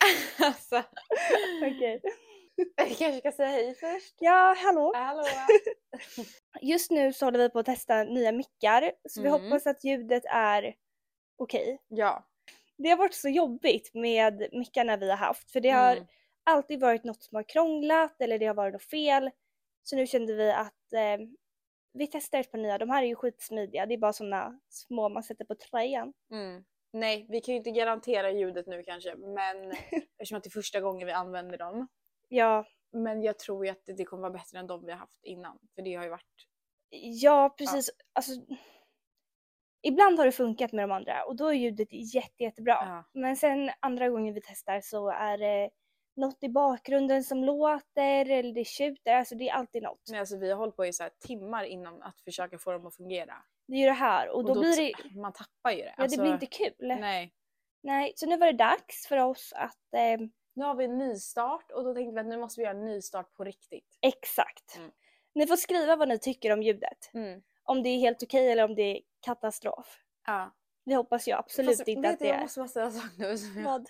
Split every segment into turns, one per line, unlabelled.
alltså,
Okej.
jag kanske ska säga hej först.
Ja, hallå.
Hallå!
Just nu så håller vi på att testa nya mickar så vi
Mm.
hoppas att ljudet är okej.
Ja.
Det har varit så jobbigt med mickarna vi har haft för det har
Mm.
alltid varit något som har krånglat eller det har varit något fel. Så nu kände vi att eh, vi testar ett par nya. De här är ju skitsmidiga. Det är bara sådana små man sätter på tröjan.
Mm. Nej, vi kan ju inte garantera ljudet nu kanske, men eftersom att det är första gången vi använder dem.
Ja,
Men jag tror ju att det- det kommer vara bättre än de vi har haft innan, för det har ju varit...
ja precis. Alltså, ibland har det funkat med de andra och då är ljudet jätte, jättebra.
Ja.
Men sen andra gången vi testar så är det något i bakgrunden som låter eller det tjuter. Alltså det är alltid något.
Men alltså vi har hållit på i så här timmar innan att försöka få dem att fungera.
Det är ju det här och då, blir det, ja,
Man tappar ju det. Alltså,
det blir
alltså,
inte kul. Nej.
Nej.
så nu var det dags för oss att ehm,
Nu har vi en ny start och då tänkte vi att nu måste vi göra en ny start på riktigt.
Exakt.
Mm.
Ni får skriva vad ni tycker om ljudet. Om det är helt okej eller om det är katastrof.
Ja.
Vi hoppas ju absolut
Fast,
inte
vet
att
du,
det
Jag
är...
måste bara säga en sak nu. som jag-
Vad?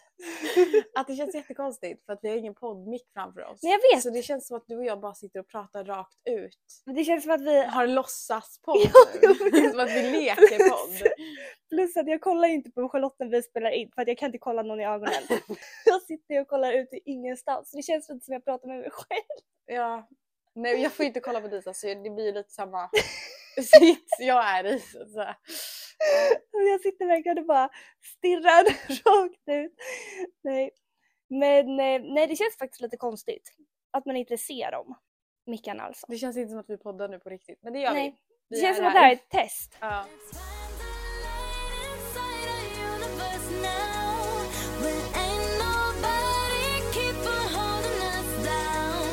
Att det känns jättekonstigt för att vi har ingen poddmick framför oss.
Nej, jag vet.
Så det känns som att du och jag bara sitter och pratar rakt ut.
Men Det känns som att vi...
Har låtsaspodd
Ja, jag
nu.
vet.
som att vi leker podd.
Plus att jag kollar inte på Charlotte när vi spelar in för att jag kan inte kolla någon i ögonen. jag sitter och kollar ut i ingenstans. Så det känns lite som jag pratar med mig själv.
Ja. Nej jag får inte kolla på Disa så det blir lite samma sits jag är i. Så. att säga.
Och Jag sitter verkligen och bara stirrar rakt ut. Nej. Men eh, nej, det känns faktiskt lite konstigt att man inte ser dem. Mickan alltså.
Det känns inte som att vi poddar nu på riktigt men det gör
Nej,
vi.
det
vi.
känns
är
som att det
här.
här är ett test.
Ja.
Let's find the light inside our universe now. When ain't nobody keeping holding us down.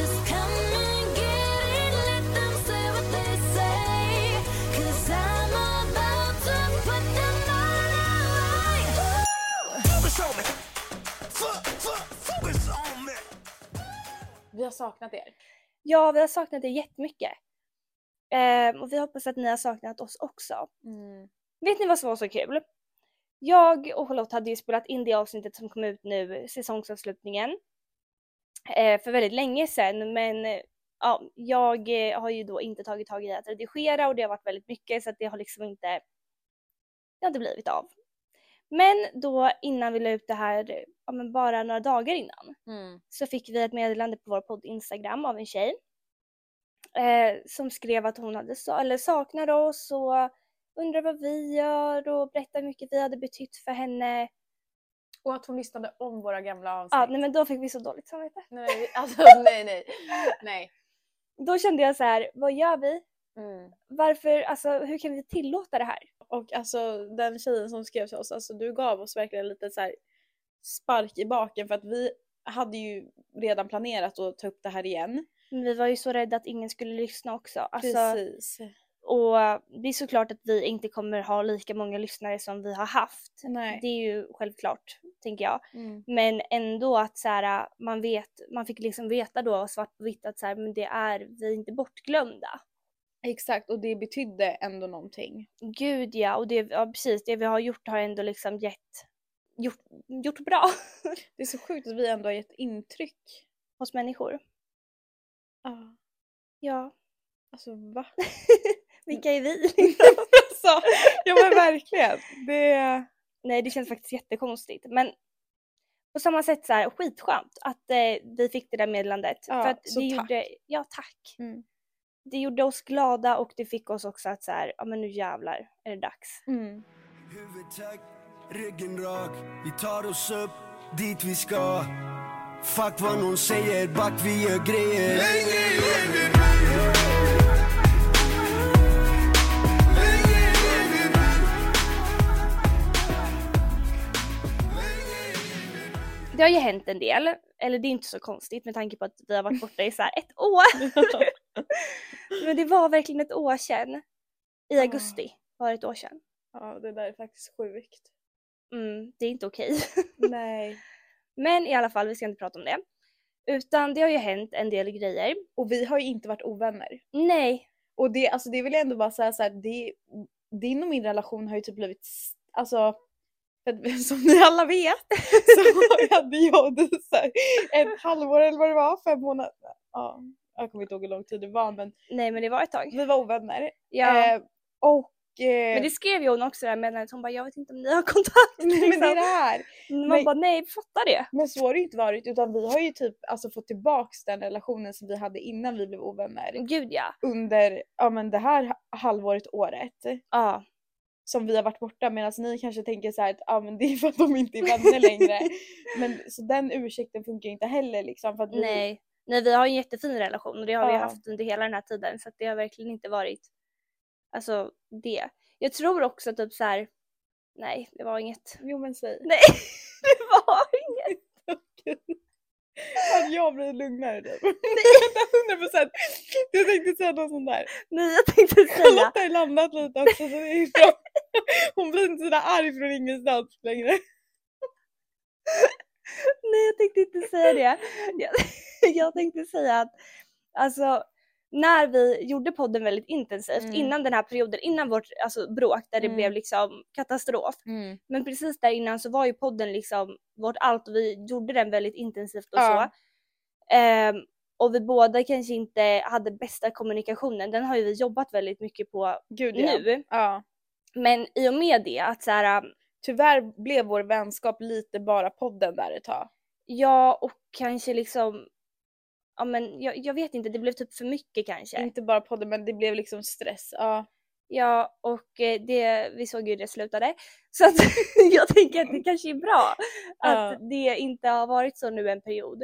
Just come and get it. Let them say what they say. 'Cause I'm about to put them all away.
Focus on me. Fo- fo- Focus on me.
Vi har saknat er.
Ja, vi har saknat er jättemycket. Ehm, och vi hoppas att ni har saknat oss också.
Mm.
Vet ni vad som var så kul? Jag och Charlotte hade ju spelat in det avsnittet som kom ut nu, säsongsavslutningen. eh, för väldigt länge sedan men eh, ja, jag eh, har ju då inte tagit tag i att redigera och det har varit väldigt mycket så att det har liksom inte, det har inte blivit av. Men då innan vi la ut det här, ja men bara några dagar innan,
Mm.
så fick vi ett meddelande på vår podd Instagram av en tjej eh, som skrev att hon hade sa- eller saknade oss och undrar vad vi gör och berättar hur mycket vi hade betytt för henne.
Och att hon lyssnade om våra gamla avsnitt.
Ja, nej men då fick vi så dåligt samvete.
Nej, alltså, nej, nej. nej.
Då kände jag så här, vad gör vi?
Mm.
Varför, alltså hur kan vi tillåta det här?
Och alltså den tjejen som skrev till oss, alltså du gav oss verkligen lite så här spark i baken för att vi hade ju redan planerat att ta upp det här igen.
Men vi var ju så rädda att ingen skulle lyssna också. Alltså,
Precis.
och det är såklart att vi inte kommer ha lika många lyssnare som vi har haft.
Nej.
Det är ju självklart, tänker jag.
mm.
Men ändå att så här, man, vet, man fick liksom veta då svart på vitt att så här, men det är, vi är inte bortglömda.
Exakt och det betydde ändå någonting.
Gud ja, och det, ja, precis, det vi har gjort har ändå liksom gett, gjort, gjort bra
Det är så sjukt att vi ändå har gett intryck.
hos människor.
Ja.
Ja,
Alltså va?
vilka är vi?
alltså, ja men verkligen. Det...
Nej, det känns faktiskt jättekonstigt. Men på samma sätt så här, skitskönt att eh, vi fick det där meddelandet.
Ja,
för att
så
det
tack.
gjorde, ja tack.
Mm.
Det gjorde oss glada och det fick oss också att så här, ja men nu jävlar är det dags.
Mm.
Huvud tack, ryggen rak. Vi tar oss upp dit vi ska. Fuck vad någon säger, back vi gör grejer.
Det har ju hänt en del, eller det är inte så konstigt med tanke på att vi har varit borta i så här ett år. Men det var verkligen ett år sedan. I augusti var det ett år sedan.
Ja det där är faktiskt sjukt.
Mm, det är inte okej.
Nej.
Men i alla fall, vi ska inte prata om det. Utan det har ju hänt en del grejer.
Och vi har ju inte varit ovänner.
Nej,
Och det, alltså det vill jag ändå bara säga så här, det, din och min relation har ju typ blivit s- alltså, För att, som ni alla vet så hade jag och Disa ett halvår eller vad det var, fem månader. Ja, jag kommer inte ihåg hur lång tid det var men
Nej men det var ett tag.
vi var ovänner.
Ja.
Eh, och...
men
Eh,
det skrev ju hon också där meddelandet. Hon bara jag vet inte om ni har kontakt.
men det är
liksom.
det här.
Man
nej.
bara nej vi fattar det.
Men så har det ju inte varit utan vi har ju typ alltså, fått tillbaks den relationen som vi hade innan vi blev ovänner
Gud ja.
under ja, men det här ha- halvåret, året
Ja.
som vi har varit borta medan ni kanske tänker så här att ah, men det är för att de inte är vänner längre. Men så den ursäkten funkar ju inte heller liksom för
Mm.
att vi,
Nej. Nej vi har en jättefin relation och det har vi
Ja.
haft under hela den här tiden så att det har verkligen inte varit alltså det. Jag tror också typ så här. nej det var inget.
Jo men säg.
Nej det var inget.
Att jag blir lugnare typ. 100 procent. Jag tänkte säga något sånt där.
Nej jag tänkte säga.
Charlotte har ju landat lite också så det är ju bra. Hon blir inte sådär arg från ingenstans längre.
Nej jag tänkte inte säga det. Jag, jag tänkte säga att alltså när vi gjorde podden väldigt intensivt
Mm.
innan den här perioden, innan vårt alltså, bråk där det
Mm.
blev liksom katastrof. Men precis där innan så var ju podden liksom vårt allt och vi gjorde den väldigt intensivt och
Ja.
så. Ehm, och vi båda kanske inte hade bästa kommunikationen. Den har ju vi jobbat väldigt mycket på
Gud ja.
nu.
ja.
Men i och med det att så här, um,
Tyvärr blev vår vänskap lite bara podden där ett tag.
ja och kanske liksom, ja men jag, jag vet inte, det blev typ för mycket kanske.
Inte bara podden men det blev liksom stress. Ja.
Ja och eh, det, vi såg ju hur det slutade. Så att jag tänker att det kanske är bra att
Ja.
det inte har varit så nu en period.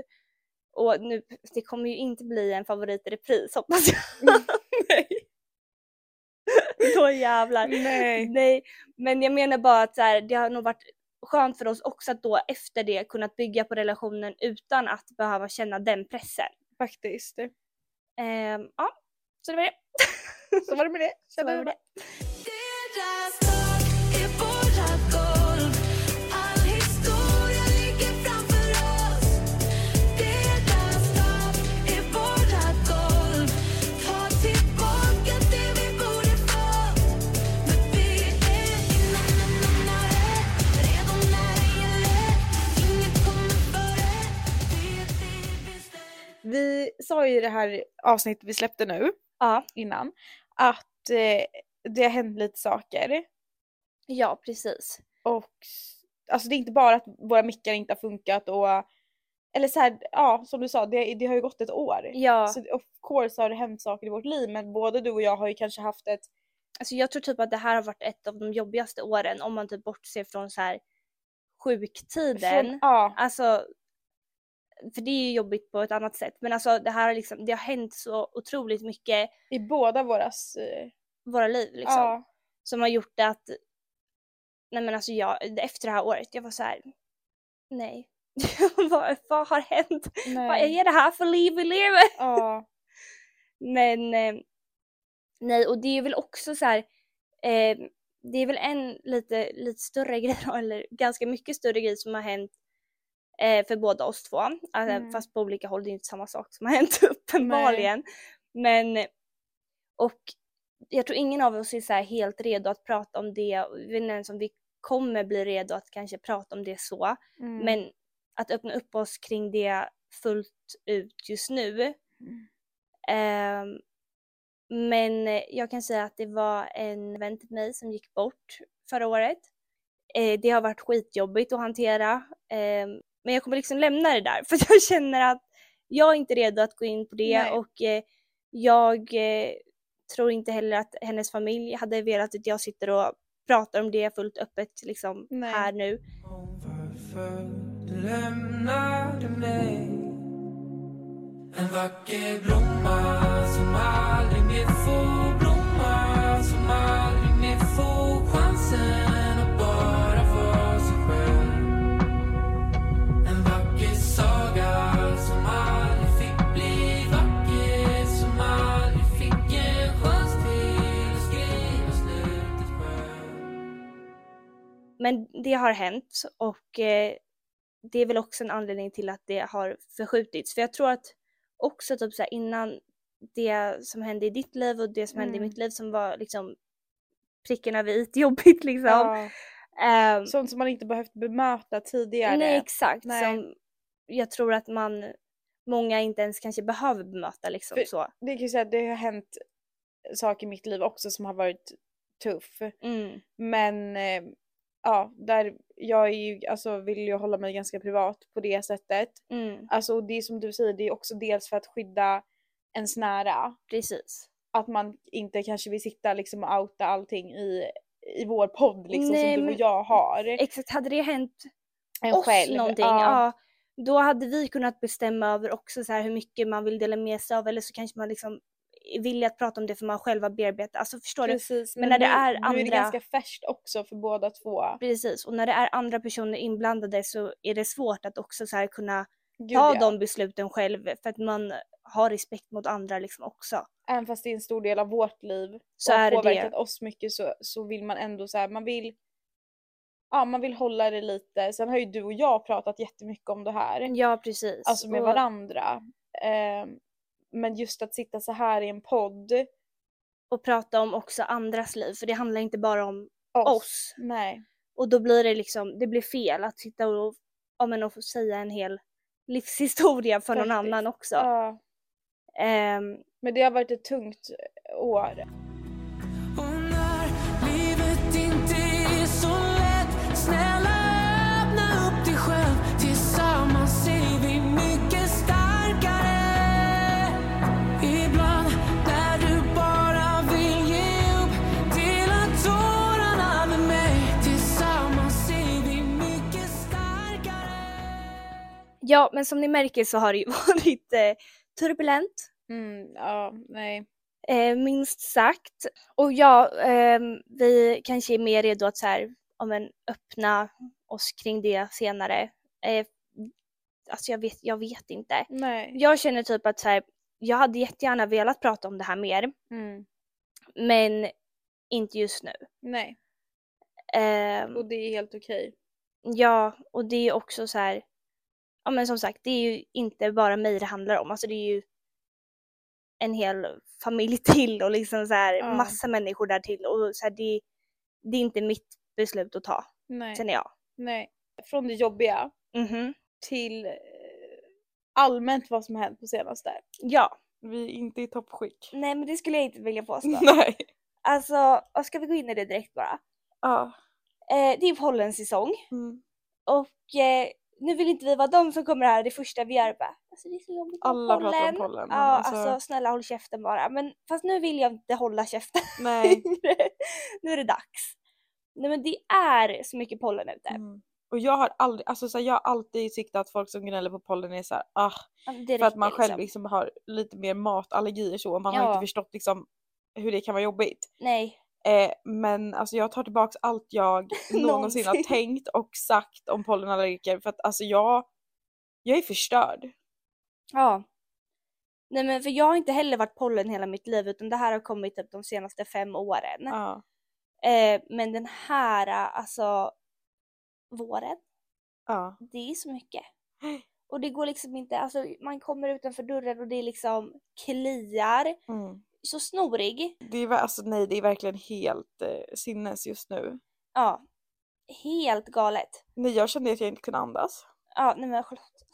Och nu, det kommer ju inte bli en favorit i repris hoppas jag.
Nej.
Då jävlar.
Nej.
Nej, men jag menar bara att så här, det har nog varit skönt för oss också att då efter det kunnat bygga på relationen utan att behöva känna den pressen.
Faktiskt.
Ehm, ja, så det var det.
Så var det med det.
Så var det med det.
I vårat golv All historia ligger framför oss Deras stopp i vårat golv Ta tillbaka det vi borde fått Men vi är inne Redo när det gäller Inget kommer före Det är det vi bestämmer
Vi sa ju i det här avsnittet vi släppte nu
Ja,
innan att eh, det har hänt lite saker
ja precis.
och s- alltså det är inte bara att våra mickar inte har funkat och eller så här, ja som du sa det, det har ju gått ett år.
Ja.
Så of course har det hänt saker i vårt liv men både du och jag har ju kanske haft ett
Alltså jag tror typ att det här har varit ett av de jobbigaste åren om man typ bortser från så här sjuktiden.
från, ja,
Alltså, för det är ju jobbigt på ett annat sätt. Men alltså det här har liksom, det har hänt så otroligt mycket
i båda våras eh,
i våra liv liksom.
ja,
Som har gjort det att, nej men alltså jag, efter det här året, jag var så här. nej. vad, vad har hänt? Vad
nej,
är det här för liv vi lever?
ja,
Men eh, nej, och det är väl också så här. Eh, det är väl en lite, lite större grej, då, eller ganska mycket större grej som har hänt eh, för båda oss två. Alltså,
Mm.
Fast på olika håll, det är ju inte samma sak som har hänt uppenbarligen. Men, och jag tror ingen av oss är så här helt redo att prata om det. Jag vet inte ens om vi kommer bli redo att kanske prata om det så.
mm,
Men att öppna upp oss kring det fullt ut just nu. Ehm, men jag kan säga att det var en vän till mig som gick bort förra året. Eh, det har varit skitjobbigt att hantera. Ehm, men jag kommer liksom lämna det där för att jag känner att jag är inte redo att gå in på det
Nej.
och eh, jag eh, tror inte heller att hennes familj hade velat att jag sitter och pratar om det fullt öppet liksom
Nej.
här nu.
Varför lämnar du mig? En vacker blomma som aldrig mer får blomma Som aldrig mer får chansen att bara vara sig själv En vacker saga som aldrig fick bli vacker Som aldrig fick en chans till att skriva slutet själv
Men det har hänt och eh, det är väl också en anledning till att det har förskjutits. För jag tror att också typ så här, innan det som hände i ditt liv och det som hände i
Mm.
mitt liv som var liksom prickarna över i jobbigt liksom.
ja,
Ehm,
Sånt som man inte behövt bemöta tidigare.
nej exakt,
Nej.
som jag tror att man, många inte ens kanske behöver bemöta liksom
För-
så.
Det kan ju säga att det har hänt saker i mitt liv också som har varit tuff.
Mm.
Men eh, ja, där jag är ju, alltså, vill ju hålla mig ganska privat på det sättet.
Mm.
Alltså och det är som du säger, det är också dels för att skydda ens nära.
Precis.
Att man inte kanske vill sitta liksom och outa allting i, i vår podd liksom
Nej,
som du
men-
och jag har.
Exakt, hade det hänt
En
oss någonting, ja. då hade vi kunnat bestämma över också så här hur mycket man vill dela med sig av eller så kanske man liksom är villig att prata om det för man själv har bearbetat. Alltså förstår du?
Precis,
Men när det
nu-
är
Nu är det
andra-
ganska färskt också för båda två.
Precis, och när det är andra personer inblandade så är det svårt att också så här kunna
Gud,
ta
ja.
de besluten själv för att man har respekt mot andra liksom också.
Även fast det är en stor del av vårt liv
Så
och
är
har
det det.
påverkat oss mycket så, så vill man ändå så här, man vill Ja man vill hålla det lite, sen har ju du och jag pratat jättemycket om det här.
Ja precis.
Alltså med
Och-
varandra. Ehm, men just att sitta så här i en podd.
Och prata om också andras liv för det handlar inte bara om oss.
Nej.
Och då blir det liksom, det blir fel att sitta och, ja, men, och få säga en hel livshistoria för någon
Faktiskt.
annan också.
Ja.
Ehm,
Men det har varit ett tungt år.
Och när livet inte är så lätt Snälla öppna upp dig själv Tillsammans är vi mycket starkare Ibland när du bara vill ge upp Dela tårarna med mig Tillsammans är vi mycket starkare
ja men som ni märker så har det ju varit eh, turbulent
Mm, ja, nej.
Eh, minst sagt. Och ja, ehm, vi kanske är mer redo att så här, om en, öppna oss kring det senare. Eh, alltså jag vet, jag vet inte.
Nej.
Jag känner typ att så här, jag hade jättegärna velat prata om det här mer,
Mm.
men inte just nu.
Nej.
Ehm,
Och det är helt okej.
ja, och det är ju också så här, ja men som sagt, det är ju inte bara mig det handlar om, alltså det är ju en hel familj till och liksom så här
Ja.
massa människor där till och så här, det, det är inte mitt beslut att ta,
Nej.
känner jag.
nej. Från det jobbiga
Mhm.
till eh, allmänt vad som har hänt på senaste.
Ja,
Vi är inte i toppskick.
nej men det skulle jag inte vilja påstå.
Nej.
alltså, och ska vi gå in i det direkt bara?
Ja.
Eh, det är pollensäsong
Mm.
och eh, nu vill inte vi vara de som kommer här det första vi gör bara, alltså det är så jobbigt med
Alla pratar om pollen.
Ja,
men
alltså... snälla håll käften bara. Men fast nu vill jag inte hålla käften
Nej.
längre. nu är det dags. Nej men det är så mycket pollen ute.
Mm. Och jag har aldrig, alltså så här, jag har alltid tyckt att folk som gnäller på pollen är så här, ah,
Det
för att man
räcker
själv
liksom.
liksom har lite mer matallergier så och man har
Ja.
inte förstått liksom hur det kan vara jobbigt.
Nej,
Eh, men alltså jag tar tillbaks allt jag någonsin har
Någonsin.
tänkt och sagt om pollenallergiker för att alltså jag, jag är förstörd.
ja. Nej men för jag har inte heller varit pollen hela mitt liv utan det här har kommit typ de senaste fem åren.
Ja.
Eh, men den här alltså våren,
Ja.
det är så mycket. Och det går liksom inte, alltså man kommer utanför dörren och det är liksom kliar,
Mm.
så snorig.
Det är, ver- alltså, nej, det är verkligen helt eh, sinnes just nu.
Ja. Helt galet.
Nej, jag kände att jag inte kunde andas.
Ja, nej men Charlotte.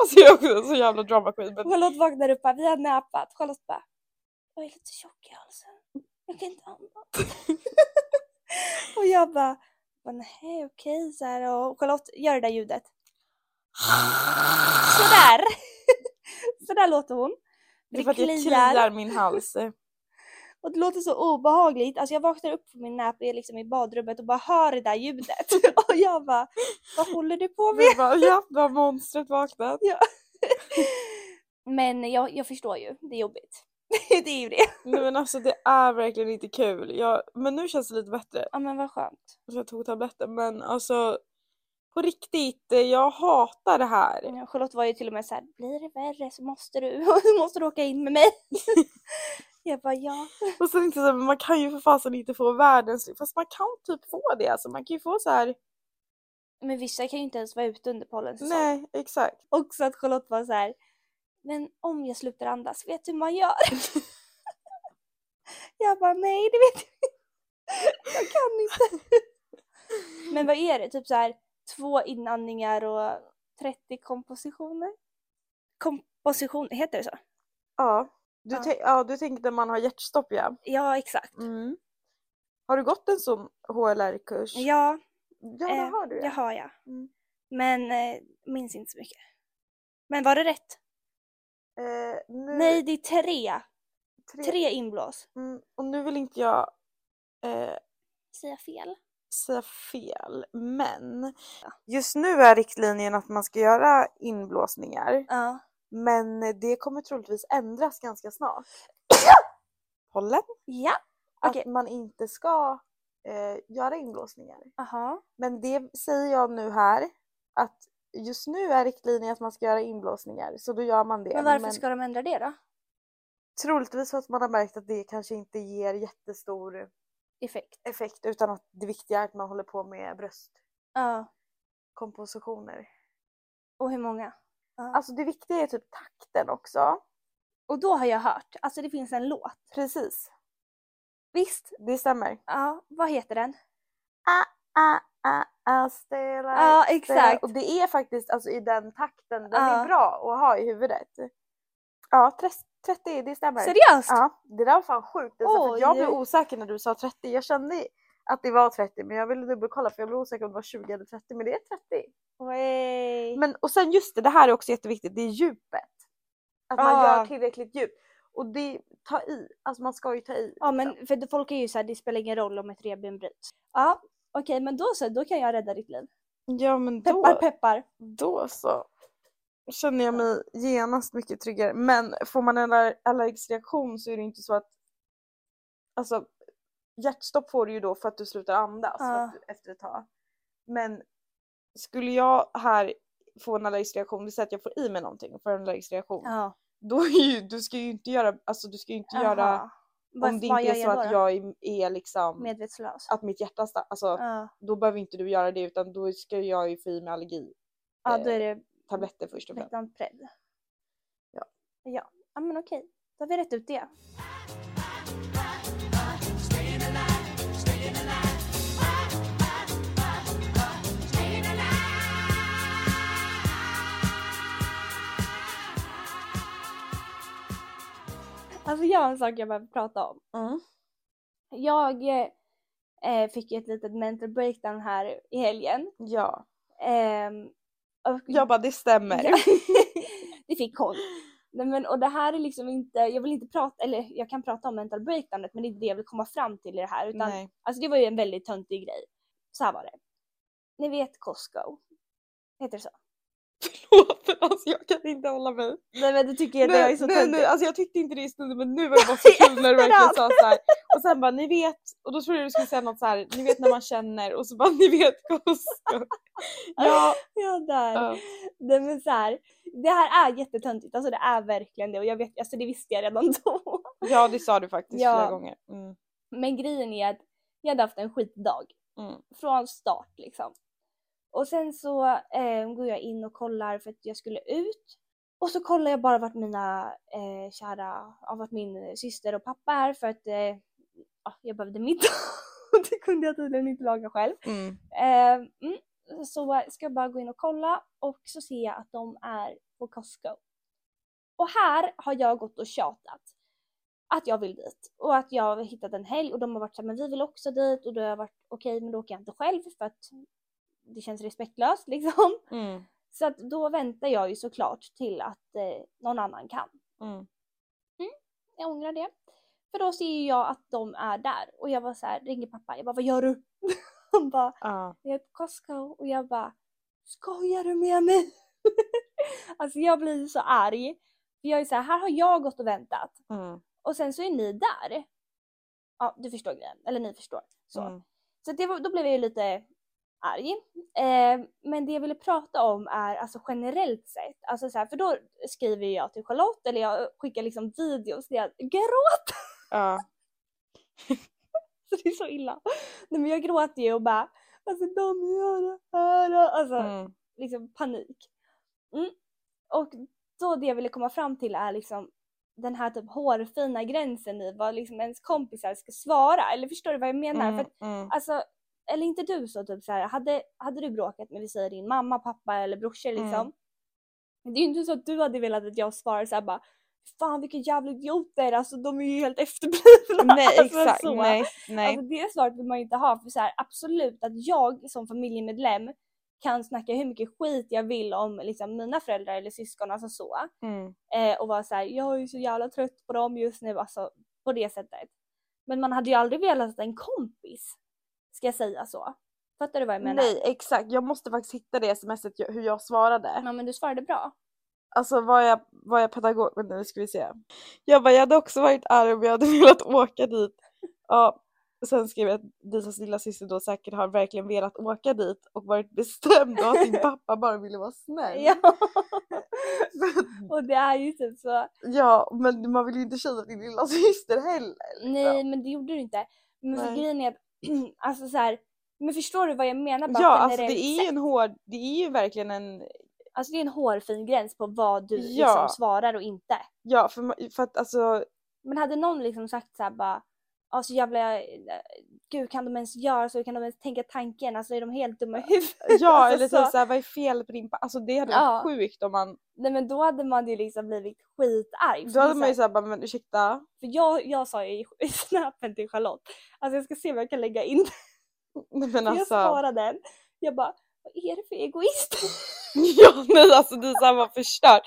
Alltså jag är också en så jävla drama queen. Men
Charlotte vaknar upp här, vi har näpat. Charlotte bara, jag är lite tjock i halsen. Jag kan inte andas. och jag bara, "Men nej okej så här. Och Charlotte, gör det där ljudet. Sådär! Sådär låter hon.
det är för att jag kliar min hals.
Och det låter så obehagligt. Alltså jag vaknar upp från min nap är liksom i badrummet och bara hör det där ljudet. och jag bara, vad håller du på med?
Vi bara, ja, nu har monstret vaknat.
Men jag, jag förstår ju, det är jobbigt. det är ju det.
Nej men alltså det är verkligen inte kul. Jag, men nu känns det lite bättre.
Ja men vad skönt.
Så jag tog tabletten men alltså på riktigt, eh, jag hatar det
Mm.
här.
Ja, Charlotte var ju till och med så här, blir det värre så måste du, så måste du åka in med mig. jag bara ja.
Och sen inte så, här, men man kan ju för fasen inte få världens Fast man kan typ få det alltså. Man kan ju få så här.
Men vissa kan ju inte ens vara ute under pollensäsong.
nej exakt.
Också att Charlotte var så här, men om jag slutar andas, vet du hur man gör? jag bara nej det vet jag inte. Jag kan inte. Men vad är det? Typ så här två inandningar och 30 kompositioner? Komposition, heter det så?
Ja. Du,
Ja.
Tänk, ja, du tänker när man har hjärtstopp ja.
Ja, exakt.
Mm.
Mm.
Har du gått en sån HLR-kurs?
Ja,
ja det
eh,
har du
det
ja.
har jag.
Mm.
Men eh, minns inte så mycket. Men var det rätt?
Eh, nu,
Nej, det är tre.
tre.
Tre inblås.
Mm, och nu vill inte jag eh,
Säger jag fel?
säga fel, men just nu är riktlinjen att man ska göra inblåsningar.
Ja.
Men det kommer troligtvis ändras ganska snart. Pollen?
Ja. Okej.
Att man inte ska eh, göra inblåsningar.
Aha.
Men det säger jag nu här att just nu är riktlinjen att man ska göra inblåsningar så då gör man det.
Men varför ska de ändra det då?
Troligtvis för att man har märkt att det kanske inte ger jättestor
Effekt.
effekt utan att det viktiga är att man håller på med
Ja.
bröstkompositioner.
Och hur många?
Alltså det viktiga är typ takten också.
Och då har jag hört, alltså det finns en låt.
Precis,
Visst?
det stämmer.
Ja, vad heter den?
Ah, ah, ah, stela,
Ja, exakt.
Och det är faktiskt alltså, i den takten, den
Ja.
är bra att ha i huvudet. Ja, 30, det stämmer.
Seriöst?
Ja, det där var fan sjukt. Lisa, för att jag blev
Oj.
osäker när du sa 30. Jag kände att det var 30 men jag ville dubbelkolla för jag blev osäker om det var 20 eller 30 men det är 30.
Way.
Men, och sen just det, det här är också jätteviktigt, det är djupet. Att man
Ja.
gör tillräckligt djupt. Och det, ta i, alltså man ska ju ta i.
Ja
liksom.
men för folk är ju såhär, det spelar ingen roll om ett revben bryts. Ja okej men då så, då kan jag rädda ditt liv.
ja, men då,
Peppar peppar.
då så känner jag mig genast mycket tryggare. Men får man en aller- allergisk reaktion så är det inte så att alltså hjärtstopp får du ju då för att du slutar andas för
Ja.
att du- efter ett tag. Men skulle jag här få en allergisk reaktion, det säger att jag får i mig någonting och får en allergisk reaktion,
Ja.
då är ju, du ska ju inte göra, alltså du ska ju inte göra,
Jaha. Vad-
om det
vad
inte är
gör
så
då
att
då?
jag är, är liksom,
Medvetslös.
att mitt hjärta stannar, alltså
Ja.
då behöver inte du göra det utan då ska jag ju få i mig allergitabletter
ja då är
eh,
det
först och främst.
Veckan Pred.
Ja.
Ja, ja men okej. Då har vi rätt ut det. Alltså jag har en sak jag behöver prata om.
Mm.
Jag eh, fick ju ett litet mental breakdown här i helgen.
Ja,
Ehm, och-
jag bara det stämmer.
Ja. det fick hon. Nej, men, och det här är liksom inte, jag vill inte prata, eller jag kan prata om mental breakdownet men det är inte det jag vill komma fram till i det här. Utan,
Nej.
alltså det var ju en väldigt töntig grej. Så här var det. Ni vet Costco? Heter det så?
Förlåt, alltså jag kan inte hålla mig.
Nej men du tycker
Nu,
att jag är
nu,
så
nu,
töntig.
alltså jag tyckte inte det i stunden men nu var det bara så kul när du verkligen sa såhär. Och sen bara ni vet, och då trodde jag du skulle säga något såhär, ni vet när man känner och så bara ni vet Costco. Ja,
Ja, där.
ja.
Nej, men så här, det här är jättetöntigt, alltså det är verkligen det och jag vet, alltså det visste jag redan då.
ja det sa du faktiskt
Ja.
flera gånger. Mm.
Men grejen är att jag hade haft en skitdag.
Mm.
Från start liksom. Och sen så eh, går jag in och kollar för att jag skulle ut. Och så kollar jag bara vart mina eh, kära, ja, vart min syster och pappa är för att eh, ja, jag behövde middag. Och det kunde jag tydligen inte laga själv.
Mm.
Eh, mm. Så ska jag bara gå in och kolla och så ser jag att de är på Costco. Och här har jag gått och tjatat att jag vill dit och att jag har hittat en helg och de har varit så här, men vi vill också dit och då har jag varit okej men då åker jag inte själv för att det känns respektlöst liksom.
Mm.
Så att då väntar jag ju såklart till att eh, någon annan kan.
Mm.
Jag ångrar det. För då ser ju jag att de är där och jag var så här, ringer pappa, jag bara vad gör du? Han bara
Ja.
jag är på Costco och jag bara Skojar du med mig? alltså jag blir så arg. För jag är så här, här har jag gått och väntat
Mm.
och sen så är ni där. Ja, du förstår grejen. Eller ni förstår. Så,
Mm.
så det var, då blev jag ju lite arg. Eh, men det jag ville prata om är alltså generellt sett. Alltså så här, för då skriver jag till Charlotte eller jag skickar liksom videos där jag gråter.
Ja.
Så det är så illa. Nej men jag gråter ju och bara Alltså de gör det här. Alltså
Mm.
liksom panik. Mm. Och då det jag ville komma fram till är liksom den här typ hårfina gränsen i vad liksom ens kompisar ska svara. Eller förstår du vad jag menar? För
Mm.
att,
Mm.
alltså, eller inte du så typ så här, hade, hade du bråkat med vi säger din mamma, pappa eller brorsor liksom.
Mm.
Det är ju inte så att du hade velat att jag svarar så här bara Fan vilka jävla idioter, alltså de är ju helt efterblivna.
Nej
alltså,
exakt,
så.
nej, nej.
Alltså det svaret vill man ju inte ha för så här, absolut att jag som familjemedlem kan snacka hur mycket skit jag vill om liksom, mina föräldrar eller syskon, alltså så.
mm.
Eh, och vara så här, jag är ju så jävla trött på dem just nu, alltså på det sättet. Men man hade ju aldrig velat att en kompis ska säga så. Fattar du vad jag menar?
nej exakt, jag måste faktiskt hitta det smset jag- hur jag svarade.
Ja men du svarade bra.
Alltså var jag, var jag pedagog? Vänta nu ska vi se. Jag bara, jag hade också varit arg om jag hade velat åka dit. Ja, sen skrev jag att Disas lilla syster då säkert har verkligen velat åka dit och varit bestämd och att din pappa bara ville vara snäll.
Ja. och det är ju typ så.
Ja, men man vill ju inte tjata din lilla syster heller.
Nej men det gjorde du inte. Men för
Nej.
grejen är att, alltså så här, men förstår du vad jag menar? Bara
Ja, alltså det
generellt
är ju
sett?
en hård, det är ju verkligen en,
alltså det är en hårfin gräns på vad du
Ja.
liksom svarar och inte.
ja för, ma- för att alltså,
Men hade någon liksom sagt såhär bara Alltså jävla, gud kan de ens göra så? Kan de ens tänka tanken? Alltså är de helt dumma i huvudet?
ja
Alltså
eller
så.
typ såhär, vad är fel på din pappa? Alltså det hade
Ja.
varit sjukt om man,
Nej men då hade man ju liksom blivit skitarg.
då hade man ju såhär bara, men ursäkta.
För jag, jag sa ju i, i snappen till Charlotte, alltså jag ska se om jag kan lägga in den.
Nej, Men
Jag
alltså.
svarade den. Jag bara, vad är det för egoist?
Ja nej alltså Disa var förstörd.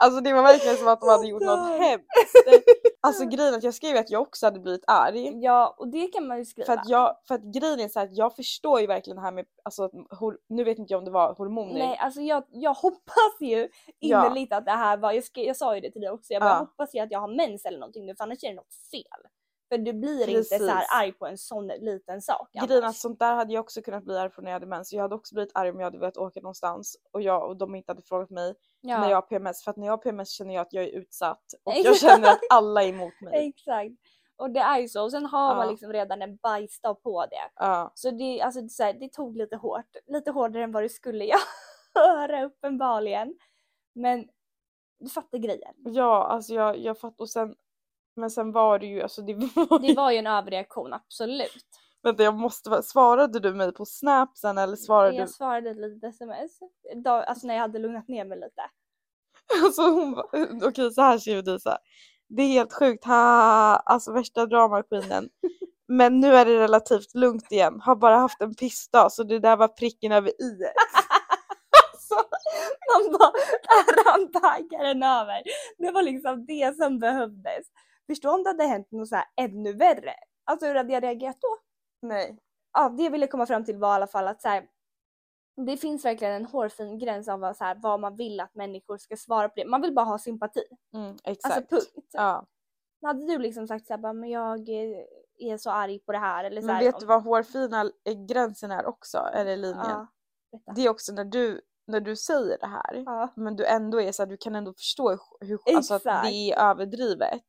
Alltså det var verkligen som att de hade gjort något
Förstörd.
hemskt. Alltså grejen är att jag skrev att jag också hade blivit arg.
ja och det kan man ju skriva.
För att, jag, för att grejen är så här att jag förstår ju verkligen det här med, alltså att hor- nu vet inte jag om det var hormoner.
Nej alltså jag, jag hoppas ju
Ja.
innerligt att det här var, jag, ska, jag sa ju det till dig också, jag bara,
Ja.
jag hoppas ju att jag har mens eller någonting nu för annars är det något fel. För du blir inte så här
Precis.
arg på en sån liten sak
Grejen är att
annars.
sånt där hade jag också kunnat bli arg på när jag hade mens. Jag hade också blivit arg om jag hade velat åka någonstans och, jag, och de inte hade frågat mig
ja.
när jag har PMS. För att när jag har PMS känner jag att jag är utsatt och jag
Exakt.
känner att alla är emot mig.
Exakt. Och det är ju så. Och sen har man
Ja.
liksom redan en bajsdag på det.
Ja.
Så det, alltså, det, är så här, det tog lite hårt. Lite hårdare än vad det skulle göra uppenbarligen. Men du fattar grejen.
ja alltså jag, jag fattar. Och sen, men sen var det ju, alltså det var
Det var ju en överreaktion, absolut.
Vänta jag måste vara- svarade du mig på snap sen eller svarade
Jag svarade ett litet sms. Då, alltså när jag hade lugnat ner mig lite.
du? Alltså hon ba- okej så här skriver du så här. Det är helt sjukt, ha alltså värsta dramaskinen. Men nu är det relativt lugnt igen, har bara haft en pissdag så det där var pricken över i.
Man bara, där rann taggaren över. Det var liksom det som behövdes. Förstå om det hade hänt något så här ännu värre. Alltså hur hade jag reagerat då?
Nej.
ja, det jag ville komma fram till var i alla fall att så här, det finns verkligen en hårfin gräns av vad, så här, vad man vill att människor ska svara på det. Man vill bara ha sympati.
Mm, exakt.
Alltså punkt.
ja.
Hade du liksom sagt så här, bara, men jag eh, är så arg på det här eller så
Men
här,
vet
om-
du vad hårfina eh, gränsen är också, eller linjen?
ja, berätta.
Det är också när du, när du säger det här
ja.
men du ändå är så här, du kan ändå förstå hur- hur, alltså, att
Exakt.
det är överdrivet.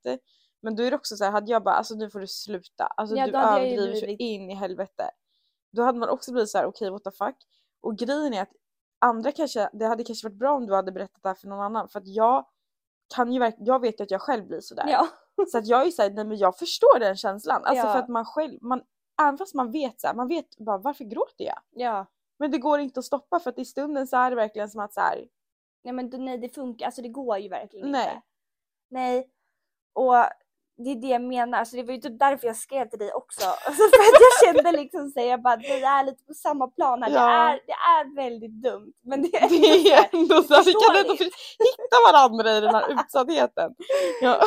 Men då är det också så här, hade jag bara alltså nu får du sluta, alltså
Ja,
du
då hade jag ju
överdriver så
blivit-
in i helvete. Då hade man också blivit så här, okej what the fuck. Och grejen är att andra kanske, det hade kanske varit bra om du hade berättat det här för någon annan för att jag kan ju verk- jag vet ju att jag själv blir sådär.
ja.
Så att jag är såhär, nej men jag förstår den känslan. Alltså
Ja.
för att man själv, man, även fast man vet såhär, man vet bara varför gråter jag?
ja.
Men det går inte att stoppa för att i stunden så är det verkligen som att såhär,
Nej men då- nej det funkar, alltså det går ju verkligen
Nej.
inte. Nej. Och det är det jag menar, alltså det var ju typ därför jag skrev till dig också. Alltså för att jag kände liksom så här, jag bara vi är lite på samma plan här. Det,
Ja.
är, det är väldigt dumt men det är
Det är ändå så här, vi
förstår
kan ändå
det.
för- hitta varandra i den här utsattheten. Ja.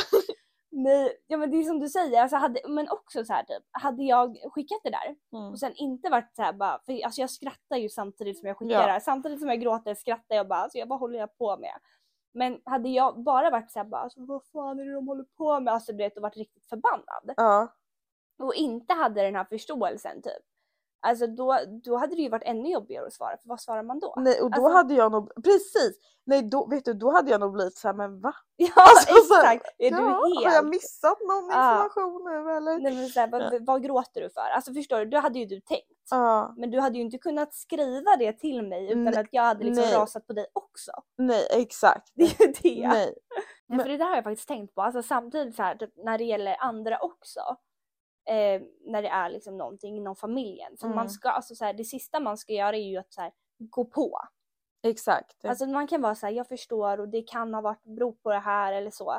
Nej, ja men det är som du säger, alltså hade, men också så här typ, hade jag skickat det där
Mm.
och sen inte varit så här bara, för alltså jag skrattar ju samtidigt som jag skickar
Ja.
det här, samtidigt som jag gråter skrattar jag bara, alltså jag, vad håller jag på med? Men hade jag bara varit så här bara, alltså, vad fan är det de håller på med? Alltså du vet, och varit riktigt förbannad
Ja.
och inte hade den här förståelsen typ. Alltså då, då hade det ju varit ännu jobbigare att svara, för vad svarar man då?
Nej, och då
Alltså-
hade jag nog, precis, nej då, vet du, då hade jag nog blivit såhär, men va?
Ja
Alltså, så här,
exakt, är du helt...
har jag missat någon
Ja.
information nu eller?
Nej, men så här, vad, vad gråter du för? Alltså förstår du, då hade ju du tänkt.
Ja.
Men du hade ju inte kunnat skriva det till mig utan
Nej,
att jag hade liksom
nej.
rasat på dig också.
Nej, exakt.
Det är ju det. Nej,
Nej.
för det där har jag faktiskt tänkt på, alltså samtidigt så här, typ, när det gäller andra också. eh, när det är liksom någonting inom familjen. För
Mm.
man ska, alltså, så här, det sista man ska göra är ju att så här, gå på.
Exakt.
Alltså man kan vara så här, jag förstår och det kan ha varit beror på det här eller så.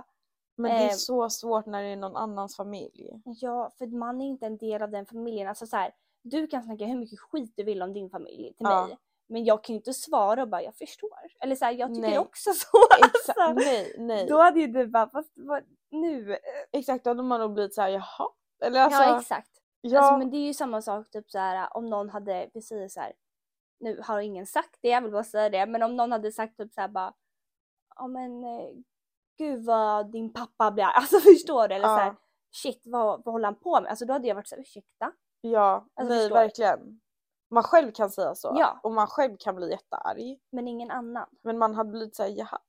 Men det är
eh,
så svårt när det är någon annans familj.
Ja, för man är inte en del av den familjen. Alltså så här, du kan snacka hur mycket skit du vill om din familj till
Ja.
mig. Men jag kan ju inte svara och bara jag förstår. Eller så här, jag tycker
Nej.
också så.
Exakt.
Alltså,
Nej, nej.
Då hade ju du bara, vad, vad, nu?
Exakt, då hade man nog blivit såhär jaha. Eller alltså,
ja exakt.
ja,
Alltså, men det är ju samma sak typ så här, om någon hade, vi säger så här, nu har ingen sagt det, jag vill bara säga det, men om någon hade sagt typ så här bara, ja men eh, gud vad din pappa blir arg." alltså förstår du? Eller så här,
Ja.
shit vad, vad håller han på med? Alltså då hade jag varit så här, ursäkta?
ja
alltså,
nej
förstår.
verkligen. Man själv kan säga så.
Ja.
Och man själv kan bli jättearg.
Men ingen annan.
Men man hade blivit såhär jaha.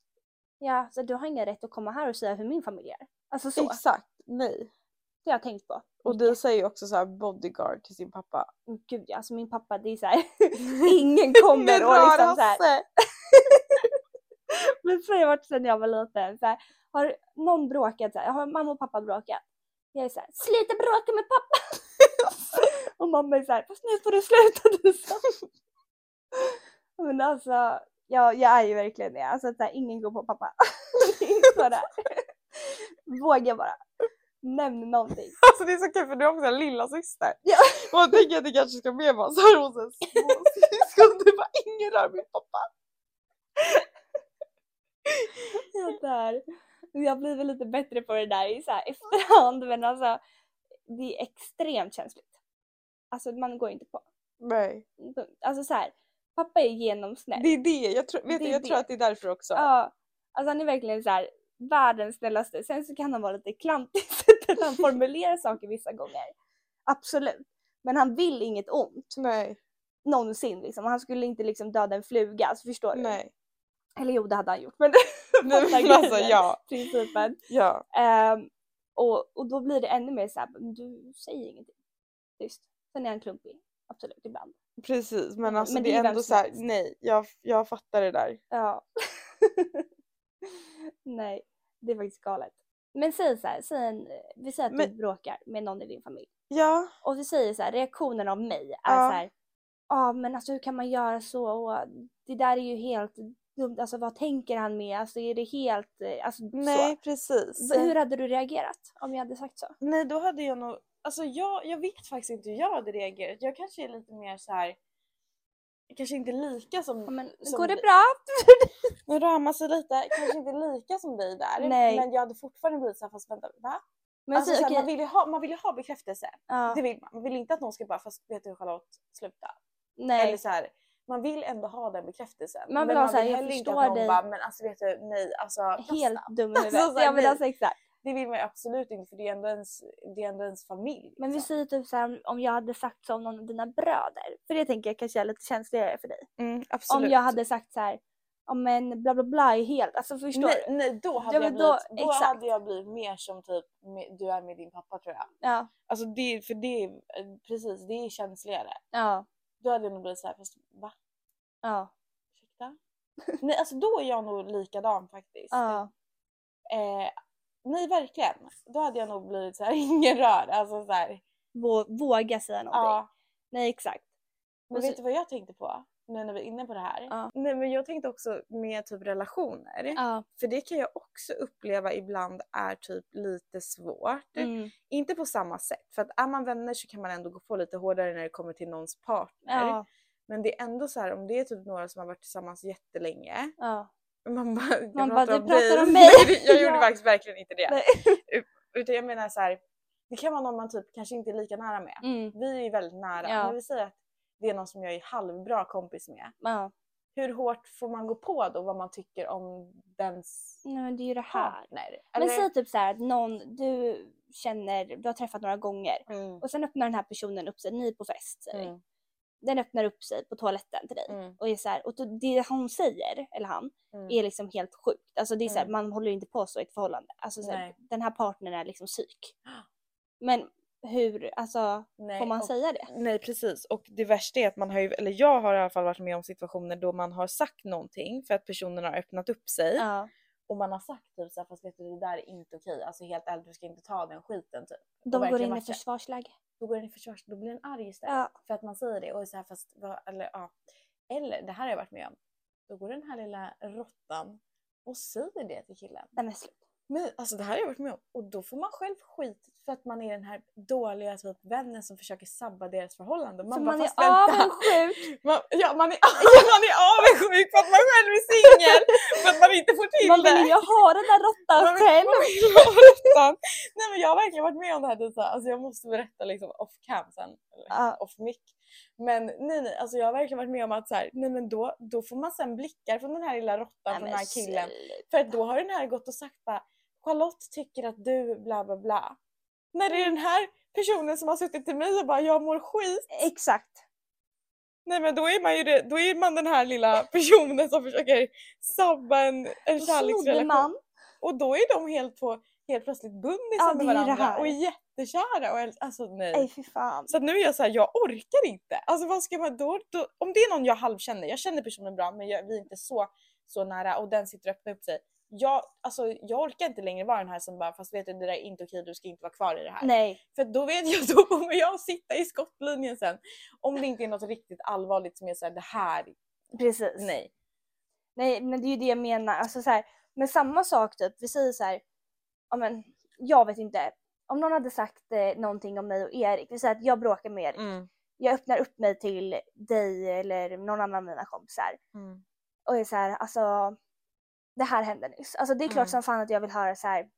Ja, så du har ingen rätt att komma här och säga hur min familj är. Alltså så, det
Exakt, nej.
har jag tänkt på.
Och
mycket.
det säger ju också så här bodyguard till sin pappa.
Men Gud ja, alltså min pappa det är så här, ingen kommer och liksom så här,
Hasse!
Men så har jag varit sen jag var liten. Så här, har någon bråkat? Så här, har mamma och pappa bråkat? Jag är såhär, sluta bråka med pappa! och mamma är såhär, fast nu får du sluta du sa." Men alltså, jag, jag är ju verkligen det. Alltså att så här, ingen går på pappa. Det är bara, våga bara. Nämn någonting.
Alltså det är så kul för du har också en lilla syster.
Ja.
Och jag tänker att det kanske ska bli bara såhär hos en småsyskon. Du bara ingen rör min pappa.
Jag dör. Jag blir väl lite bättre på det där i så här efterhand men alltså det är extremt känsligt. Alltså man går inte på.
Nej.
Alltså så här, pappa är genomsnäll.
Det är det, jag, tror, vet
Det
du,
är
jag tror
det.
att det är därför också.
Ja, alltså han är verkligen så här världens snällaste. Sen så kan han vara lite klantig i sättet han formulerar saker vissa gånger. Absolut. Men han vill inget ont
Nej,
någonsin liksom. Han skulle inte liksom döda en fluga, alltså förstår du?
nej.
Eller jo, det hade han gjort. Men
Nej
Fattar
men alltså
grejen.
ja.
principen.
ja.
Ehm, och, och då blir det ännu mer så här, men du säger ingenting. Tyst. Sen är han klumpig. Absolut, ibland.
Precis men alltså
Men
det
det är
är
vem
ändå
som
så här,
helst.
nej jag, jag fattar det där.
Ja. Nej, det är faktiskt galet. Men säg så här, säg en, eh, vi säger att
Men-
du bråkar med någon i din familj.
Ja,
Och vi säger så här, reaktionen av mig är
Ja.
så här, ja men alltså hur kan man göra så? Och det där är ju helt dumt, alltså vad tänker han med? Alltså är det helt, eh, alltså
nej precis.
så. V- Hur hade du reagerat om jag hade sagt så?
Nej, då hade jag nog... Alltså jag, jag vet faktiskt inte hur jag hade reagerat. Jag kanske är lite mer så här... Kanske inte lika
Ja,
som...
men
Som
går det
vi-
bra?
Nu ramar sig lite. Kanske inte lika som dig där.
Nej.
Men jag hade fortfarande blivit så här, fast vänta, va?
Men
alltså,
säg,
så här,
okej,
man, vill ju ha, man vill ju ha bekräftelse.
ja,
Det vill man. Man vill inte att någon ska bara, fast vet du Charlotte, sluta. Eller
nej,
så här, man vill ändå ha den bekräftelsen.
Man vill ha så här, jag
heller inte
förstår
att någon
dig.
Bara, men alltså vet du, nej alltså
helt
kasta.
dum i huvudet.
Alltså, så här,
ja men
vi-
alltså exakt.
Det vill man ju absolut inte för det är ändå ens, det är ändå ens familj.
Men vi
liksom.
säger typ så här, om- om jag hade sagt så om någon av dina bröder. För det tänker jag kanske är lite känsligare för dig.
Mm, absolut.
Om jag hade sagt så här, ja men bla bla bla är helt, alltså förstår
nej,
du?
nej, då hade,
Ja,
jag
men
blivit,
då-
då
exakt.
hade jag blivit mer som typ med, du är med din pappa tror jag.
Ja,
Alltså det, för det är, eh, precis, det är känsligare.
ja,
Då hade jag nog blivit såhär, fast va?
ja,
Ursäkta? nej alltså då är jag nog likadan faktiskt.
ja.
Eh, nej verkligen. Då hade jag nog blivit såhär, ingen rör. Alltså såhär,
Vå- Våga säga någonting.
ja.
Nej exakt.
Men
Och
vet
så-
du vad jag tänkte på? Nu när vi är inne på det här.
Ja.
Nej men jag tänkte också med typ relationer.
Ja,
För det kan jag också uppleva ibland är typ lite svårt.
mm,
Inte på samma sätt. För att är man vänner så kan man ändå gå på lite hårdare när det kommer till någons partner.
ja,
Men det är ändå så här om det är typ några som har varit tillsammans jättelänge.
ja.
Man bara, jag
Man bara, "Du
dig."
pratar om mig.
Nej, det- jag gjorde
Ja.
faktiskt verkligen inte det.
Nej.
Ut- Utan jag menar så här. Det kan vara någon man typ kanske inte är lika nära med.
Mm,
Vi är ju väldigt nära.
Ja.
Men vi säger att det är någon som jag är halvbra kompis med.
ja.
hur hårt får man gå på då vad man tycker om dens
Nej men det är ju det här.
partner?
Men säg typ så här att någon du känner, du har träffat några gånger
Mm,
och sen öppnar den här personen upp sig, ni är på fest säger vi.
mm,
Den öppnar upp sig på toaletten till dig.
mm,
Och, är så här, och då- det hon säger, eller han,
mm.
är liksom helt sjukt. Alltså det är så här,
Mm.
man håller inte på så i ett förhållande. Alltså så här,
Nej.
den här partnern är liksom psyk. Men hur, alltså
Nej,
får man
och,
säga det?
Nej precis och det värsta är att man har ju, eller jag har i alla fall varit med om situationer då man har sagt någonting för att personen har öppnat upp sig
Ja.
Och man har sagt typ så här, fast vet du det där är inte okej. Alltså helt ärligt du ska inte ta den skiten typ.
De går
verkligen
in i
matcha.
försvarsläge.
Då går den i försvars, då blir den arg istället.
Ja.
För att man säger det och är så här fast vad, eller ja. Eller det här har jag varit med om. Då går den här lilla råttan och säger det till killen.
Nej men sluta.
Men alltså det här har jag varit med om. Och då får man själv skit för att man är den här dåliga typ vännen som försöker sabba deras förhållande. Och
Så
bara,
man är
"Fast vänta."
avundsjuk.
Man, ja, man är, ja, man är avundsjuk för att man själv är singel. för att man inte får till
Man
det.
vill ju ha den där råttan
Man vill-
själv.
man vill ha råttan. Nej men jag har verkligen varit med om det här Disa. Alltså jag måste berätta liksom off cam sen. Eller
Ja.
off mic. Men nej nej, alltså jag har verkligen varit med om att så här, nej men då, då får man sen blickar från den här lilla råttan
Nej,
från
men
den här killen.
sluta.
För att då har den här gått och sagt bara Charlotte tycker att du bla bla bla. När det är den här personen som har suttit till mig och bara jag mår skit.
Exakt.
Nej men då är man ju det, då är man den här lilla personen som försöker sabba en, en
Då snodde
kärleksrelation.
man.
Och då är de helt, på, helt plötsligt bundisar
Ja, det
med
är ju det
varandra
här.
och är jättekära. Och, helt- alltså nej.
Nej fy fan.
Så att nu är jag så här, jag orkar inte. Alltså vad ska man då, då? Om det är någon jag halvkänner, jag känner personen bra men jag, vi är inte så, så nära och den sitter och öppnar upp sig. Jag, alltså, jag orkar inte längre vara den här som bara, fast vet du det där är inte okej, du ska inte vara kvar i det här.
Nej.
För då vet jag, då kommer jag sitta i skottlinjen sen. Om det inte är något riktigt allvarligt som är såhär, det här,
Precis.
nej.
Nej, men det är ju det jag menar. Alltså, så här, men samma sak, typ, vi säger så här, ja, men, jag vet inte. Om någon hade sagt eh, någonting om mig och Erik, vi säger att jag bråkar med Erik.
Mm.
Jag öppnar upp mig till dig eller någon annan av mina kompisar.
Mm.
Och är så här, alltså det här hände nyss. Alltså det är klart
Mm.
som fan att jag vill höra så här,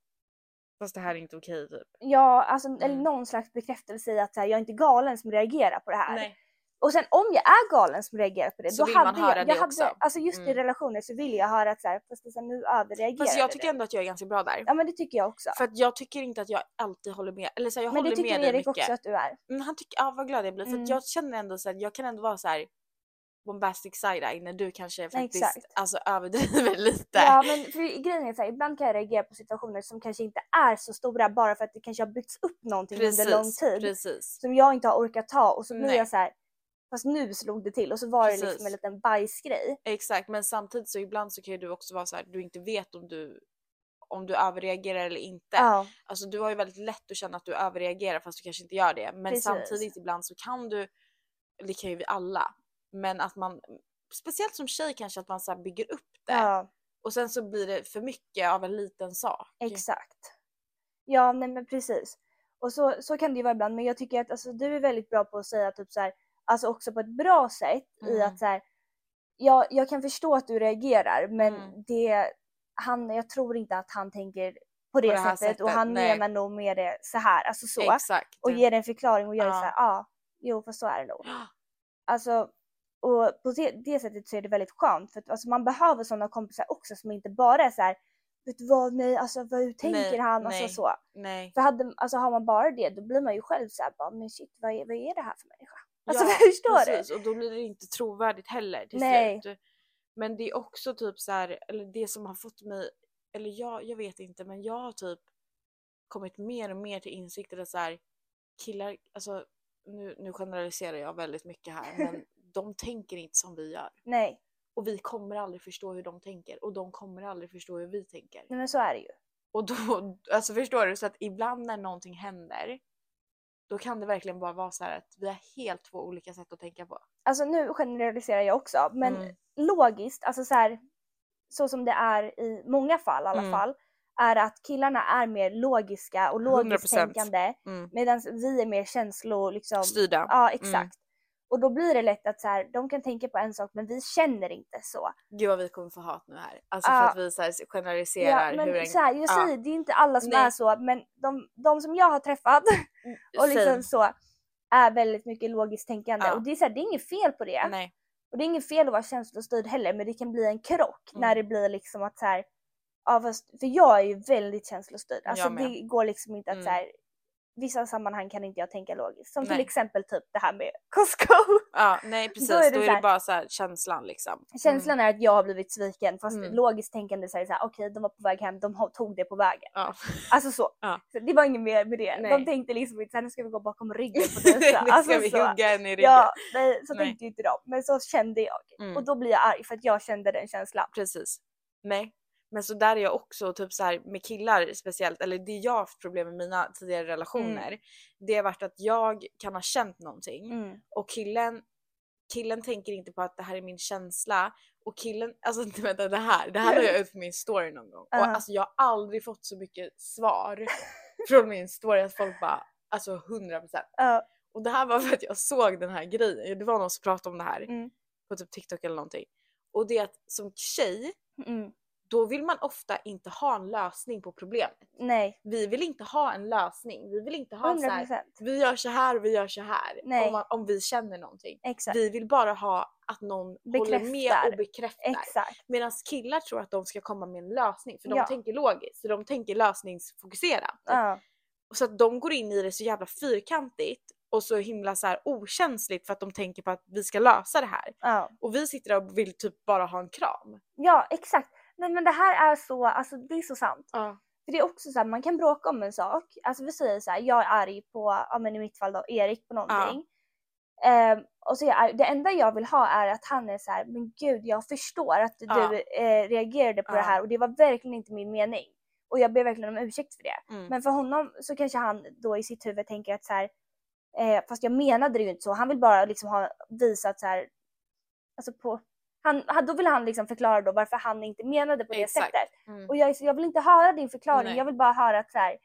Fast det här är inte okej typ.
ja, alltså, eller
Mm.
någon slags bekräftelse i att så här, jag är inte galen som reagerar på det här.
Nej.
Och sen om jag är galen som reagerar på det,
Så
då
vill man
hade
höra
jag,
det
jag hade,
också.
alltså just i
Mm.
relationer så vill jag höra att så här, fast alltså, nu överreagerar
Fast jag tycker
du.
ändå att jag är ganska bra där.
Ja men det tycker jag också.
För att jag tycker inte att jag alltid håller med. Eller så här, jag
men det
håller
tycker
med dig
Erik
mycket.
också att du är.
Men han tycker, ja vad glad jag blir. För
Mm.
att jag känner ändå så att jag kan ändå vara så här bombastic side-eye när du kanske faktiskt
exakt.
alltså, överdriver lite.
Ja men för grejen är så här, ibland kan jag reagera på situationer som kanske inte är så stora bara för att det kanske har byggts upp någonting under lång tid.
Precis.
Som jag inte har orkat ta och så blir
Nej.
jag så här. fast nu slog det till och så var det
Precis.
liksom en liten bajsgrej.
Exakt men samtidigt så ibland så kan ju du också vara så här du inte vet om du om du överreagerar eller inte.
Ja,
Alltså du har ju väldigt lätt att känna att du överreagerar fast du kanske inte gör det. Men
Precis.
samtidigt ibland så kan du, det kan ju vi alla, men att man, speciellt som tjej kanske att man så här bygger upp det.
ja
Och sen så blir det för mycket av en liten sak.
exakt. Ja nej men precis. Och så, så kan det ju vara ibland men jag tycker att alltså, du är väldigt bra på att säga typ så här, alltså också på ett bra sätt i
Mm.
att så här, jag, jag kan förstå att du reagerar men
Mm.
det, han, jag tror inte att han tänker på det,
det här
sättet, och
sättet,
han
nej.
menar nog med det så här, alltså så.
Exakt.
och ger en förklaring och gör det så
Typ. Ja.
här, ja, ah, jo för så är det nog. Alltså, och på det, det sättet så är det väldigt skönt för att alltså, man behöver sådana kompisar också som inte bara är så här, vet du vad, nej, alltså vad, hur tänker
Nej,
han? Alltså
nej.
så.
Nej.
För hade, alltså, har man bara det då blir man ju själv så här, bara, men shit vad är, vad är det här för människa? Alltså förstår
precis. Och då blir det inte trovärdigt heller till
Nej.
slut. Men det är också typ så här, eller det som har fått mig, eller jag, jag vet inte, men jag har typ kommit mer och mer till insikten att så här, killar, alltså nu, nu generaliserar jag väldigt mycket här, men de tänker inte som vi gör.
du? Nej,
Och vi kommer aldrig förstå hur de tänker och de kommer aldrig förstå hur vi tänker.
nej men så är det ju.
Och då, alltså förstår du? Så att ibland när någonting händer, då kan det verkligen bara vara så här att vi har helt två olika sätt att tänka på.
Alltså nu generaliserar jag också men
Mm.
logiskt, alltså så här, så som det är i många fall i alla
Mm.
fall, är att killarna är mer logiska och
100%.
logiskt tänkande
Mm.
medan vi är mer känslo... Liksom,
Styrda.
ja, exakt. Och då blir det lätt att så här, de kan tänka på en sak men vi känner inte så.
Gud vad vi kommer få hat nu här. Alltså
Ja.
för att vi så här generaliserar
men
hur en...
så här, jag
ja.
säger, det är inte alla som
Nej. Mm,
är så men de, de som jag har träffat och liksom
Same.
så är väldigt mycket logiskt tänkande.
Ja. Mm.
Och det är, så här, det är inget fel på det.
Nej.
Och det är inget fel att vara känslostyrd heller men det kan bli en krock
Mm.
när det blir liksom att så här, ja, fast, för jag är ju väldigt känslostyrd.
Jag
Alltså
med.
det går liksom inte att
Mm.
så här, vissa sammanhang kan inte jag tänka logiskt. Som till
Nej.
exempel typ det här med Costco.
Ja, nej precis. Då
är det
är det,
så här- Mm.
bara så här känslan liksom.
Känslan är att jag har blivit sviken fast
Mm.
logiskt tänkande så är det såhär okej de var på väg hem, de ho- tog det på vägen.
Ja.
Alltså så.
Ja.
så det var inget mer med det. De
Nej.
tänkte liksom inte såhär nu ska vi gå bakom ryggen på
nu
Disa.
ska
alltså,
vi
så.
hugga en i ryggen.
Ja, nej, så
Nej.
tänkte ju inte de. Men så kände jag.
Mm.
Och då blir jag arg för att jag kände den känslan.
Precis. Nej. Men så där är jag också typ så här med killar speciellt, eller det jag har haft problem med mina tidigare relationer. Det har varit att jag kan ha känt någonting
Mm.
och killen, killen tänker inte på att det här är min känsla och killen, alltså inte vänta det här, det här la jag ut på min story någon gång och
Aha.
alltså jag har aldrig fått så mycket svar från min story att folk bara alltså 100%
Ja.
och det här var för att jag såg den här grejen, det var någon som pratade om det här
Mm.
på typ TikTok eller någonting och det är att som tjej
Mm.
då vill man ofta inte ha en lösning på problemet.
Nej,
Vi vill inte ha en lösning, vi vill inte ha så
100
här,
procent.
vi gör så här, vi gör så här
Nej.
om, man, om vi känner någonting.
Exakt.
Vi vill bara ha att någon håller med
Bekräftar.
och bekräftar.
Exakt.
Medan killar tror att de ska komma med en lösning för de
Ja.
tänker logiskt, så de tänker lösningsfokuserat.
Ja.
Och Så att de går in i det så jävla fyrkantigt och så himla så här okänsligt för att de tänker på att vi ska lösa det här.
Ja.
Och vi sitter där och vill typ bara ha en kram.
ja, exakt. Nej, men det här är så, alltså det är så sant.
Ja.
För det är också så här, man kan bråka om en sak. Alltså vi säger så här, jag är arg på, ja men i mitt fall då, Erik på någonting. Ehm, och så är jag arg. Det enda jag vill ha är att han är så här, men gud jag förstår att
Ja.
du eh, reagerade på
Ja.
det här och det var verkligen inte min mening. Och jag ber verkligen om ursäkt för det.
Mm.
Men för honom så kanske han då i sitt huvud tänker att så här, eh, fast jag menade det ju inte så. Han vill bara liksom ha visat så här, alltså på, han, han- då vill han liksom förklara då varför han inte menade på det
Exakt.
sättet.
Mm.
Och jag, är så- jag vill inte höra din förklaring,
Nej.
jag vill bara höra att så här,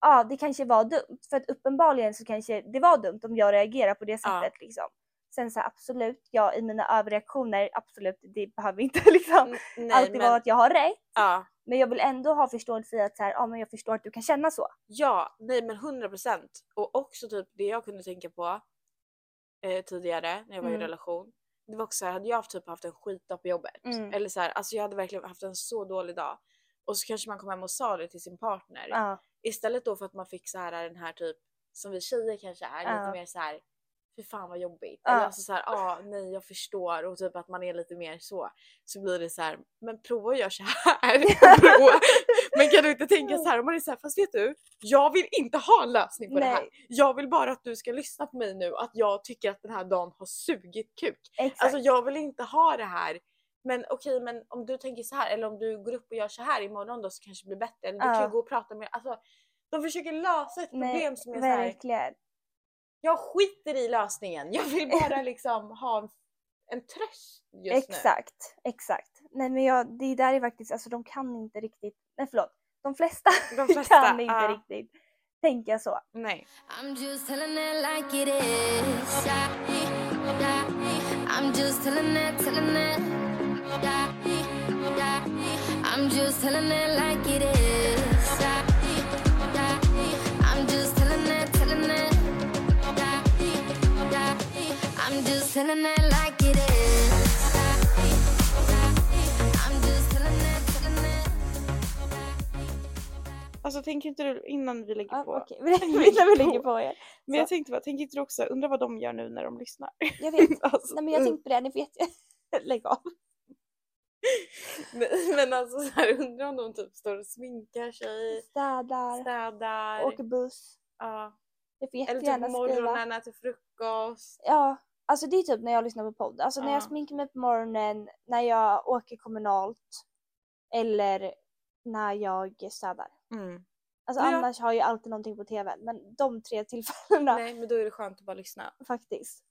ja det kanske var dumt. För att uppenbarligen så kanske det var dumt om jag reagerar på det
Ja.
sättet liksom. Sen så här, absolut, jag i mina överreaktioner, absolut det behöver inte liksom
N- Nej,
alltid
men,
vara att jag har rätt.
ja.
Men jag vill ändå ha förståelse i att så här, ja men jag förstår att du kan känna så.
Ja, nej men 100 procent. Och också typ det jag kunde tänka på eh, tidigare när jag var i
Mm.
relation. Det var också så här, hade jag haft, typ haft en skitdag på jobbet.
Mm.
Eller så här, alltså jag hade verkligen haft en så dålig dag. Och så kanske man kom hem och sa det till sin partner.
Ja,
Istället då för att man fick så här den här typ, som vi tjejer kanske är,
Ja.
lite mer så här fy fan vad jobbigt.
Ja.
Eller alltså så här, ah, nej jag förstår och typ att man är lite mer så. Så blir det så här, men prova att göra så här. prova. Men kan du inte tänka så här om man är så här, fast vet du, jag vill inte ha en lösning på det här.
Nej.
Jag vill bara att du ska lyssna på mig nu, att jag tycker att den här dagen har sugit kuk.
exakt.
Alltså jag vill inte ha det här. Men okej, men om du tänker så här eller om du går upp och gör så här imorgon då så kanske det blir bättre. Eller du kan
Ja.
ju gå och prata med... Alltså, de försöker lösa ett
Nej,
problem som är så här.
Verkligen.
jag skiter i lösningen. Jag vill bara liksom ha en, en tröst just nu.
Exakt, exakt. Nej men jag, det där är faktiskt, alltså de kan inte riktigt, nej förlåt, de flesta,
De flesta,
kan inte
ja.
riktigt tänka så.
Nej.
I'm just telling it like it is. I'm just telling it, telling it. I'm just telling it like it is. I'm just telling it, telling it. I'm just telling it like it is. I'm just telling it, telling it.
Alltså tänker inte du innan vi lägger
Ja,
på?
Okej, vi lägger, vi lägger på er.
Men jag tänkte bara, tänker inte du också, undrar vad de gör nu när de lyssnar?
Jag vet,
alltså,
nej men
mm.
jag tänkte på det, ni vet ju. Lägg av.
Men, men alltså så här, undrar om de typ står och sminkar sig,
Städar,
städar.
åker buss.
ja.
Det får
Eller
jättegärna
typ
skriva.
morgonen, äter frukost.
Ja, alltså det är typ när jag lyssnar på podd. Alltså när
Ja.
jag sminkar mig på morgonen, när jag åker kommunalt eller när jag städar.
Mm.
Alltså
Ja.
annars har jag alltid någonting på tvn men de tre tillfällena
Nej men då är det skönt att bara lyssna.
faktiskt.